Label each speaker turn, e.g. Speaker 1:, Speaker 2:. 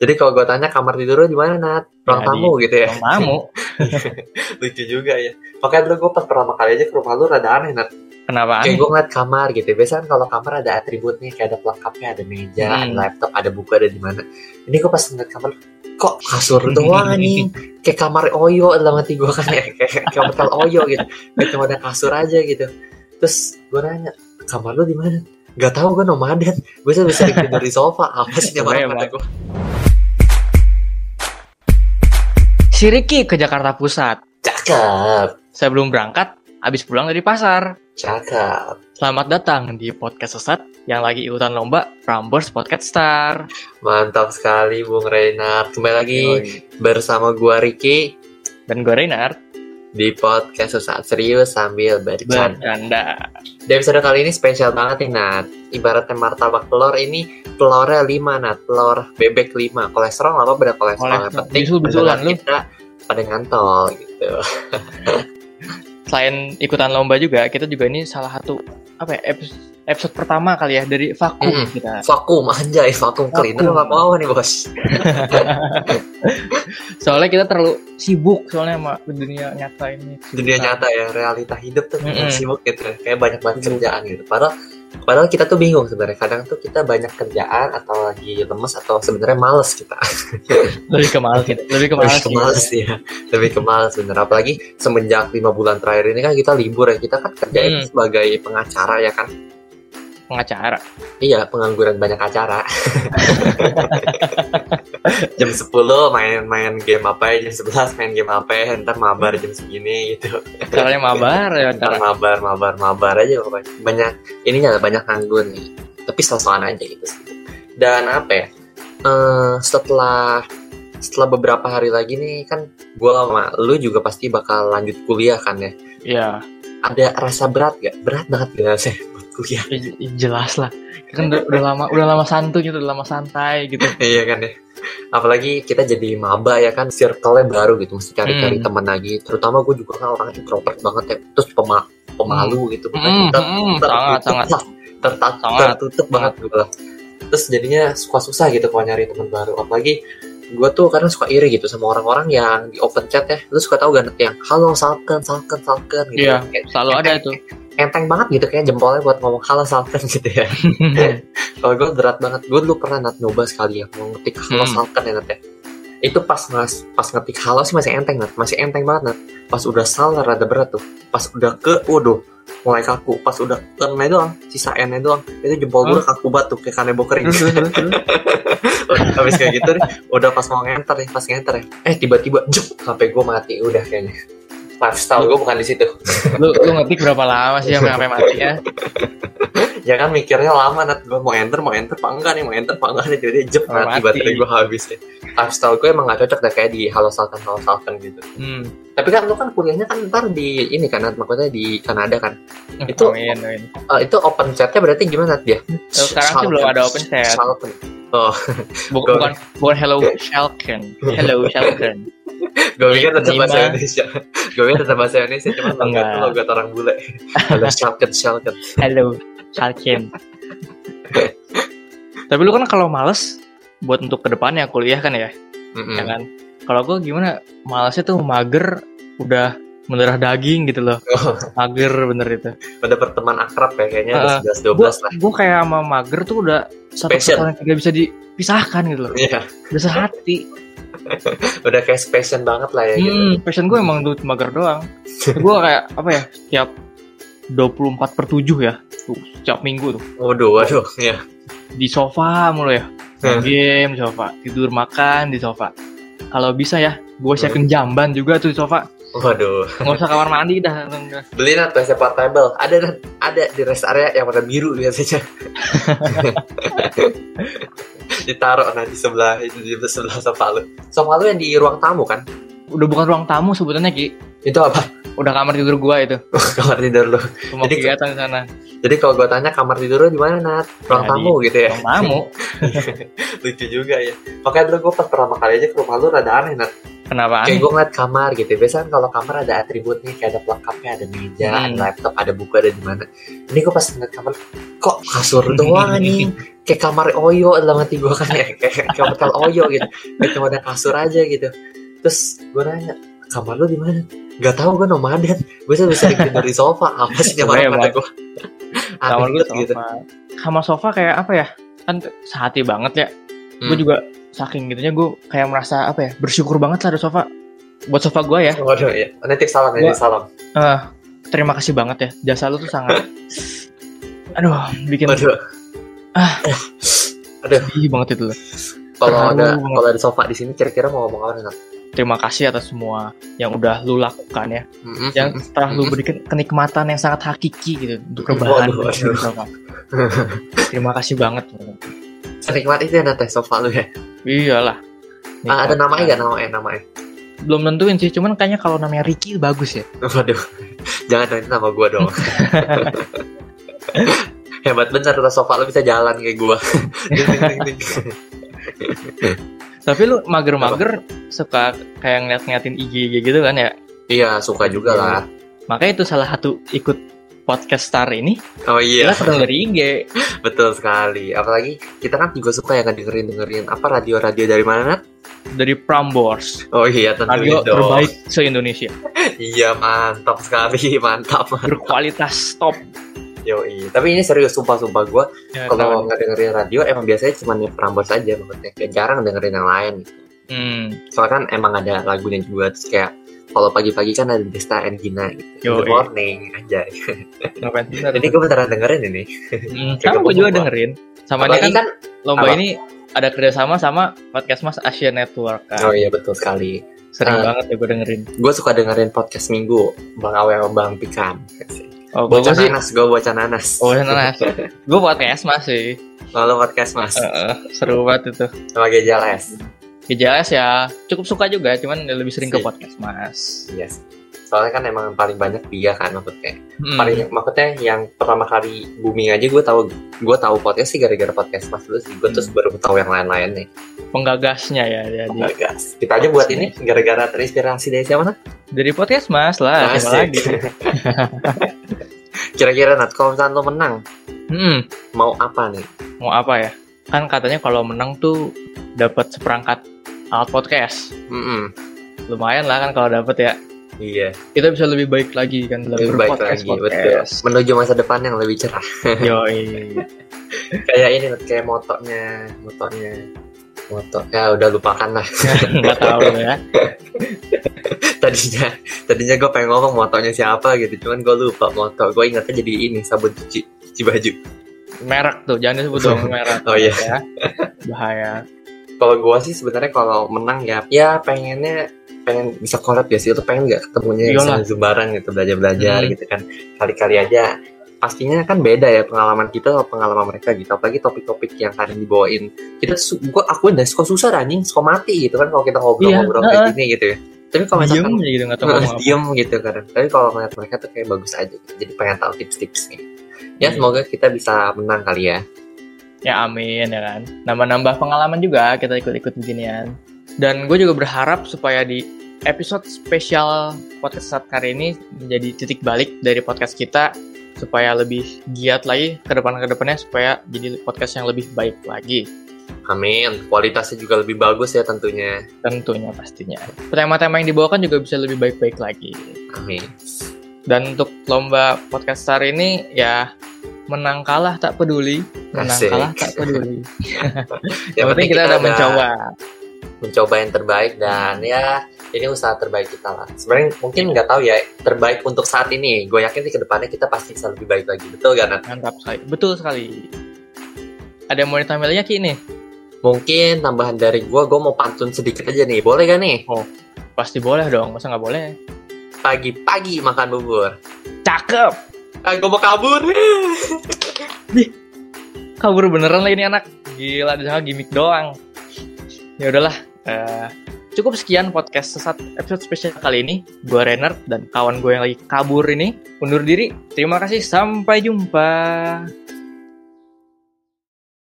Speaker 1: Jadi kalau gue tanya kamar tidurnya di mana, Nat? Ruang
Speaker 2: Ya, di-
Speaker 1: tamu gitu ya.
Speaker 2: Ruang tamu.
Speaker 1: Lucu juga ya. Makanya dulu gue pas pertama kali aja ke rumah lu rada aneh, Nat.
Speaker 2: Kenapa
Speaker 1: Kayak
Speaker 2: aneh?
Speaker 1: gue ngeliat kamar gitu. Biasanya kan kalau kamar ada atributnya, kayak ada pelengkapnya, ada meja,
Speaker 2: Hmm.
Speaker 1: ada laptop, ada buku, ada di mana. Ini gue pas ngeliat kamar, kok kasur doang anjing? Kayak kamar Oyo dalam hati gue kan ya. Kayak kayak hotel Oyo gitu. Kayak cuma ada kasur aja gitu. Terus gue nanya, kamar lu di mana? Gak tau gue nomaden. Gue selalu sering tidur di sofa. Apa sih tiap malam kata
Speaker 2: Emang.
Speaker 1: gue?
Speaker 2: Si Ricky ke Jakarta Pusat.
Speaker 1: Cakep,
Speaker 2: Sebelum berangkat, habis pulang dari pasar.
Speaker 1: cakep.
Speaker 2: Selamat datang di podcast sesat yang lagi ikutan lomba Prambors Podcast Star.
Speaker 1: Mantap sekali Bung Reinhard. Kembali lagi bersama gua Riki
Speaker 2: Dan gue Reinhard,
Speaker 1: di podcast Sesaat Serius sambil bercanda.
Speaker 2: bercanda.
Speaker 1: Di episode kali ini spesial banget nih Nat. Ibaratnya martabak telur ini telurnya 5 Nat, telur bebek 5. Kolesterol nggak apa-apa pada kolesterol. Yang
Speaker 2: Kolesterol.
Speaker 1: penting
Speaker 2: Bisul-bisulan
Speaker 1: pendengar
Speaker 2: lu.
Speaker 1: kita pada ngantol gitu.
Speaker 2: Selain ikutan lomba juga, kita juga ini salah satu apa ya, episode, episode pertama kali ya dari vakum
Speaker 1: Mm-mm.
Speaker 2: kita.
Speaker 1: Vakum anjay, vakum cleaner
Speaker 2: Vakum.
Speaker 1: nggak mau nih bos.
Speaker 2: Soalnya kita terlalu sibuk soalnya sama dunia nyata ini.
Speaker 1: dunia
Speaker 2: Nah.
Speaker 1: nyata ya realita hidup tuh
Speaker 2: Mm-mm.
Speaker 1: sibuk gitu kayak banyak banget
Speaker 2: Sibuk.
Speaker 1: kerjaan gitu padahal padahal kita tuh bingung sebenarnya kadang tuh kita banyak kerjaan atau lagi lemes atau sebenarnya males kita
Speaker 2: Lebih ke males gitu. Lebih ke males.
Speaker 1: lebih ke males ya lebih ke males bener apalagi semenjak lima bulan terakhir ini kan kita libur ya kita kan kerja itu
Speaker 2: Mm.
Speaker 1: sebagai pengacara ya kan
Speaker 2: Pengacara.
Speaker 1: iya pengangguran banyak acara jam 10 main-main game apa ya jam 11 main game apa ya ntar mabar jam segini gitu
Speaker 2: Caranya mabar ya.
Speaker 1: Ntar
Speaker 2: Cara.
Speaker 1: mabar, mabar, mabar aja pokoknya. Banyak, ininya banyak nganggur nih. Tapi sosokan aja gitu sih. Dan apa ya? eh, setelah setelah beberapa hari lagi nih kan gua sama lu juga pasti bakal lanjut kuliah kan ya.
Speaker 2: Iya.
Speaker 1: Ada rasa berat gak? Berat banget gak sih buat kuliah?
Speaker 2: Ya, ya jelas lah kan udah, udah lama udah lama santuy gitu udah lama santai gitu
Speaker 1: iya kan ya. Apalagi kita jadi maba ya kan, circle-nya baru gitu, mesti cari-cari
Speaker 2: Hmm.
Speaker 1: teman lagi. Terutama gue juga kan orang introvert banget ya, terus pema- pemalu gitu. bukan
Speaker 2: Mm,
Speaker 1: kita-
Speaker 2: mm, sangat
Speaker 1: tertutup
Speaker 2: sangat
Speaker 1: lah. Tertat-
Speaker 2: Sangat. Iya.
Speaker 1: tertutup banget gue lah terus jadinya suka susah gitu kalau nyari teman baru apalagi gue tuh kadang suka iri gitu sama orang-orang yang di open chat ya lu suka tau gak Nat, yang halo salken salken salken gitu
Speaker 2: Iya.
Speaker 1: Kayak
Speaker 2: selalu ada itu
Speaker 1: enteng banget gitu kayak jempolnya buat ngomong halo salken gitu ya kalau gue berat banget gue dulu pernah Nat, nyoba sekali ya mau ngetik halo
Speaker 2: Hmm.
Speaker 1: salken ya Nat ya itu pas ngas, pas ngetik halo sih masih enteng Nat. masih enteng banget Nat. pas udah salah rada berat tuh pas udah ke waduh mulai kaku pas udah n nya doang sisa n nya doang itu jempol gue
Speaker 2: Hmm.
Speaker 1: udah kaku banget tuh kayak kanebo kering
Speaker 2: terus terus terus, terus.
Speaker 1: habis kayak gitu nih, udah pas mau ngenter nih pas ngenter ya eh tiba-tiba juk sampai gue mati udah kayaknya lifestyle gue bukan di situ
Speaker 2: lu lu ngetik berapa lama sih sampai sampai mati ya
Speaker 1: ya kan mikirnya lama nat gue mau enter mau enter apa enggak nih mau enter apa enggak nih jadi jep
Speaker 2: Oh,
Speaker 1: mati
Speaker 2: mati.
Speaker 1: baterai gue habis ya lifestyle gue emang gak cocok deh kayak di halo salkan halo salkan gitu
Speaker 2: hmm.
Speaker 1: tapi kan lu kan kuliahnya kan ntar di ini kan Nat, maksudnya di Kanada kan Itu-
Speaker 2: hmm, Amin, amin.
Speaker 1: Eh, itu open chatnya berarti gimana Nat, dia
Speaker 2: sekarang sih belum ada open chat.
Speaker 1: Salkan.
Speaker 2: Bu-
Speaker 1: Go.
Speaker 2: bukan bukan hello Shalken hello Shalken
Speaker 1: gue pikir tetap
Speaker 2: Terima.
Speaker 1: bahasa Indonesia gue pikir tetap bahasa Indonesia cuman lo gak
Speaker 2: Enggak.
Speaker 1: lo gak orang bule halo salkan salkan
Speaker 2: hello Shalken tapi lu kan kalau males buat untuk kedepannya kuliah kan ya
Speaker 1: Mm-mm.
Speaker 2: ya kan kalau gue gimana malesnya tuh mager udah mendarah daging gitu loh mager bener itu
Speaker 1: pada perteman akrab ya kayaknya ada
Speaker 2: Ah,
Speaker 1: 11
Speaker 2: gue
Speaker 1: 12 lah
Speaker 2: gue kayak sama mager tuh udah satu
Speaker 1: Passion.
Speaker 2: perkara yang tidak bisa dipisahkan gitu loh
Speaker 1: Iya,
Speaker 2: udah sehati
Speaker 1: udah kayak passion banget lah ya gitu.
Speaker 2: hmm, passion gue emang dulu mager doang gue kayak apa ya tiap 24 per 7 ya tuh setiap minggu tuh
Speaker 1: Waduh, waduh, ya.
Speaker 2: di sofa mulu ya Main game di sofa tidur makan di sofa kalau bisa ya gue siapin jamban juga tuh di sofa
Speaker 1: Waduh,
Speaker 2: nggak usah kamar mandi dah Nggak.
Speaker 1: beli nat bahasa portable. Ada Nat. ada di rest area yang warna biru biasanya. Ditaruh nah di sebelah di sebelah sofa lu. Sofa lu yang di ruang tamu kan?
Speaker 2: udah bukan ruang tamu sebetulnya ki
Speaker 1: Itu apa?
Speaker 2: udah kamar tidur gue itu
Speaker 1: kamar tidur lu.
Speaker 2: cuma
Speaker 1: Jadi-
Speaker 2: kegiatan di sana
Speaker 1: Jadi kalau gue tanya kamar tidur lu di mana Nat? Ruang
Speaker 2: Ya, di-
Speaker 1: tamu gitu ya.
Speaker 2: Ruang tamu
Speaker 1: Lucu juga ya. Makanya dulu gue pas pertama kali aja ke rumah lu rada aneh Nat.
Speaker 2: kenapa
Speaker 1: Kayak
Speaker 2: aneh?
Speaker 1: gue ngeliat kamar gitu. Biasanya kan kalau kamar ada atributnya kayak ada pelengkapnya, ada meja,
Speaker 2: Hmm.
Speaker 1: ada laptop, ada buku, ada di mana. Ini gue pas ngeliat kamar, kok kasur doang anjing? kayak kamar oyo dalam hati gue kan ya kayak kayak hotel oyo gitu kayak cuma ada kasur aja gitu terus gue nanya kamar lu di mana Gak tau gue nomaden gue sih bisa tidur di sofa apa sih nyaman kata
Speaker 2: Sebenarnya
Speaker 1: gue
Speaker 2: kamar gue
Speaker 1: Aneh gitu.
Speaker 2: sofa kamar sofa kayak apa ya kan sehati banget ya gue
Speaker 1: Hmm.
Speaker 2: juga saking gitunya gue kayak merasa apa ya bersyukur banget lah ada sofa buat sofa gue ya
Speaker 1: waduh ya nanti salam nanti
Speaker 2: Gua-
Speaker 1: salam
Speaker 2: terima kasih banget ya jasa lu tuh sangat aduh bikin
Speaker 1: waduh
Speaker 2: sedih banget itu loh.
Speaker 1: kalau
Speaker 2: terharu
Speaker 1: ada
Speaker 2: banget.
Speaker 1: kalau ada sofa di sini kira-kira mau ngomong apa nih Nat?
Speaker 2: terima kasih atas semua yang udah lu lakukan ya
Speaker 1: Mm-mm,
Speaker 2: yang
Speaker 1: mm-mm.
Speaker 2: telah lu berikan kenikmatan yang sangat hakiki gitu untuk rebahan
Speaker 1: Hmm. Waduh,
Speaker 2: gitu,
Speaker 1: waduh.
Speaker 2: Sofa. terima kasih banget
Speaker 1: Senikmat itu ya Nat ya, sofa lu ya
Speaker 2: iyalah Iya.
Speaker 1: Ah, ada namanya gak namanya namanya
Speaker 2: belum nentuin sih cuman kayaknya kalau namanya Ricky bagus ya
Speaker 1: waduh jangan nanti nama gue dong hebat bener tuh sofa lu bisa jalan kayak gue
Speaker 2: tapi lu mager-mager suka kayak ngeliat-ngeliatin IG gitu kan ya
Speaker 1: iya suka juga lah
Speaker 2: makanya itu salah satu ikut podcast star ini
Speaker 1: oh iya
Speaker 2: kita ketemu dari IG
Speaker 1: Betul sekali. Apalagi kita kan juga suka ya dengerin dengerin apa radio-radio dari mana? Nat?
Speaker 2: dari Prambors
Speaker 1: Oh iya tentunya
Speaker 2: radio
Speaker 1: dong.
Speaker 2: terbaik se Indonesia
Speaker 1: Iya mantap sekali, mantap.
Speaker 2: berkualitas top
Speaker 1: Yoi. Tapi ini serius sumpah-sumpah gue
Speaker 2: Ya,
Speaker 1: kalau
Speaker 2: kawan.
Speaker 1: nggak dengerin radio emang biasanya cuma yang perambor saja maksudnya kayak jarang dengerin yang lain.
Speaker 2: hmm,
Speaker 1: Soalnya kan emang ada lagunya juga terus kayak kalau pagi-pagi kan ada Desta and Gina gitu.
Speaker 2: Yoi.
Speaker 1: Good morning aja.
Speaker 2: ngapain bener
Speaker 1: Jadi gue beneran dengerin ini.
Speaker 2: Hmm,
Speaker 1: Kayak
Speaker 2: sama gue
Speaker 1: kebun
Speaker 2: juga
Speaker 1: gua.
Speaker 2: dengerin sama ini
Speaker 1: Apalagi
Speaker 2: kan
Speaker 1: kan,
Speaker 2: lomba
Speaker 1: apa?
Speaker 2: ini ada kerjasama sama podcast mas Asia Network kan
Speaker 1: oh iya betul sekali. Ah.
Speaker 2: sering banget ya gue dengerin
Speaker 1: Gue suka dengerin podcast minggu Bang Awe sama Bang Pikan.
Speaker 2: oh gue
Speaker 1: Bocah
Speaker 2: sih
Speaker 1: nanas, gue bocah nanas.
Speaker 2: oh nanas gue podcast mas sih
Speaker 1: Lalu podcast mas
Speaker 2: Heeh, seru banget itu
Speaker 1: sama gejala S.
Speaker 2: Gejalas ya cukup suka juga cuman lebih sering ke
Speaker 1: Sih.
Speaker 2: podcast mas
Speaker 1: Yes. Soalnya kan emang paling banyak dia kan maksudnya.
Speaker 2: Hmm,
Speaker 1: Paling maksudnya yang pertama kali booming aja gue tahu gue tahu podcast sih gara-gara podcast mas dulu sih.
Speaker 2: Hmm.
Speaker 1: Gue terus baru tahu yang lain-lain nih.
Speaker 2: penggagasnya ya jadi
Speaker 1: Bagas. Kita aja buat ini gara-gara terinspirasi dari siapa Nat?
Speaker 2: dari podcast mas lah siapa
Speaker 1: Asik.
Speaker 2: lagi
Speaker 1: Kira-kira Nat kalau misalnya lo menang
Speaker 2: Hmm,
Speaker 1: mau apa nih?
Speaker 2: mau apa ya kan katanya kalau menang tuh dapat seperangkat alat podcast
Speaker 1: Mm-mm.
Speaker 2: lumayan lah kan kalau dapat ya
Speaker 1: Iya.
Speaker 2: kita bisa lebih baik lagi kan dalam
Speaker 1: Lebih baik lagi. Betul. Menuju masa depan yang lebih cerah.
Speaker 2: Yoi.
Speaker 1: kayak ini Nat, kayak motonya, motonya, moto. Ya udah lupakan lah.
Speaker 2: nggak tahu ya
Speaker 1: tadinya tadinya gue pengen ngomong motonya siapa gitu cuman gue lupa moto gue ingatnya jadi ini sabun cuci cuci baju
Speaker 2: merek tuh jangan disebut dong merek
Speaker 1: Oh, iya.
Speaker 2: ya. bahaya
Speaker 1: kalau gue sih sebenarnya kalau menang ya ya pengennya pengen bisa collab ya sih itu pengen nggak ketemunya
Speaker 2: Iyalah.
Speaker 1: bisa bareng gitu belajar belajar
Speaker 2: Iya Hmm.
Speaker 1: gitu kan kali-kali aja pastinya kan beda ya pengalaman kita sama pengalaman mereka gitu apalagi topik-topik yang kadang dibawain kita gue akuin dan suka susah anjing suka mati gitu kan kalau kita ngobrol-ngobrol
Speaker 2: Iya,
Speaker 1: kayak gini gitu ya tapi kalau
Speaker 2: diem
Speaker 1: misalkan
Speaker 2: aja gitu nggak tahu
Speaker 1: Nah,
Speaker 2: ngomong apa
Speaker 1: diem gitu kadang tapi kalau ngeliat mereka tuh kayak bagus aja gitu. jadi pengen tahu tips-tipsnya ya
Speaker 2: Iya.
Speaker 1: semoga kita bisa menang kali ya
Speaker 2: ya amin ya kan nambah-nambah pengalaman juga kita ikut-ikut beginian dan gue juga berharap supaya di episode spesial podcast saat kali ini menjadi titik balik dari podcast kita supaya lebih giat lagi ke depan ke depannya supaya jadi podcast yang lebih baik lagi
Speaker 1: amin kualitasnya juga lebih bagus ya tentunya
Speaker 2: tentunya pastinya tema-tema yang dibawakan juga bisa lebih baik-baik lagi
Speaker 1: amin
Speaker 2: Dan untuk lomba podcast star ini ya menang kalah tak peduli, menang
Speaker 1: Asik.
Speaker 2: kalah tak peduli.
Speaker 1: yang
Speaker 2: Yang Ya, penting kita, udah mencoba.
Speaker 1: mencoba yang terbaik dan ya ini usaha terbaik kita lah sebenarnya mungkin nggak tahu ya terbaik untuk saat ini gue yakin sih kedepannya kita pasti bisa lebih baik lagi betul gak Nat?
Speaker 2: Mantap sekali. Betul sekali. Ada yang mau ditambahin lagi nih?
Speaker 1: mungkin tambahan dari gue gue mau pantun sedikit aja nih boleh gak nih
Speaker 2: Pasti boleh dong, masa nggak boleh?
Speaker 1: pagi-pagi makan bubur
Speaker 2: Cakep.
Speaker 1: ah, gue mau kabur
Speaker 2: Kabur beneran lah ini anak. Gila, disangka gimmick doang. Ya udahlah. eh, cukup sekian podcast sesat episode spesial kali ini. Gue Renard dan kawan gue yang lagi kabur ini undur diri. Terima kasih, sampai jumpa.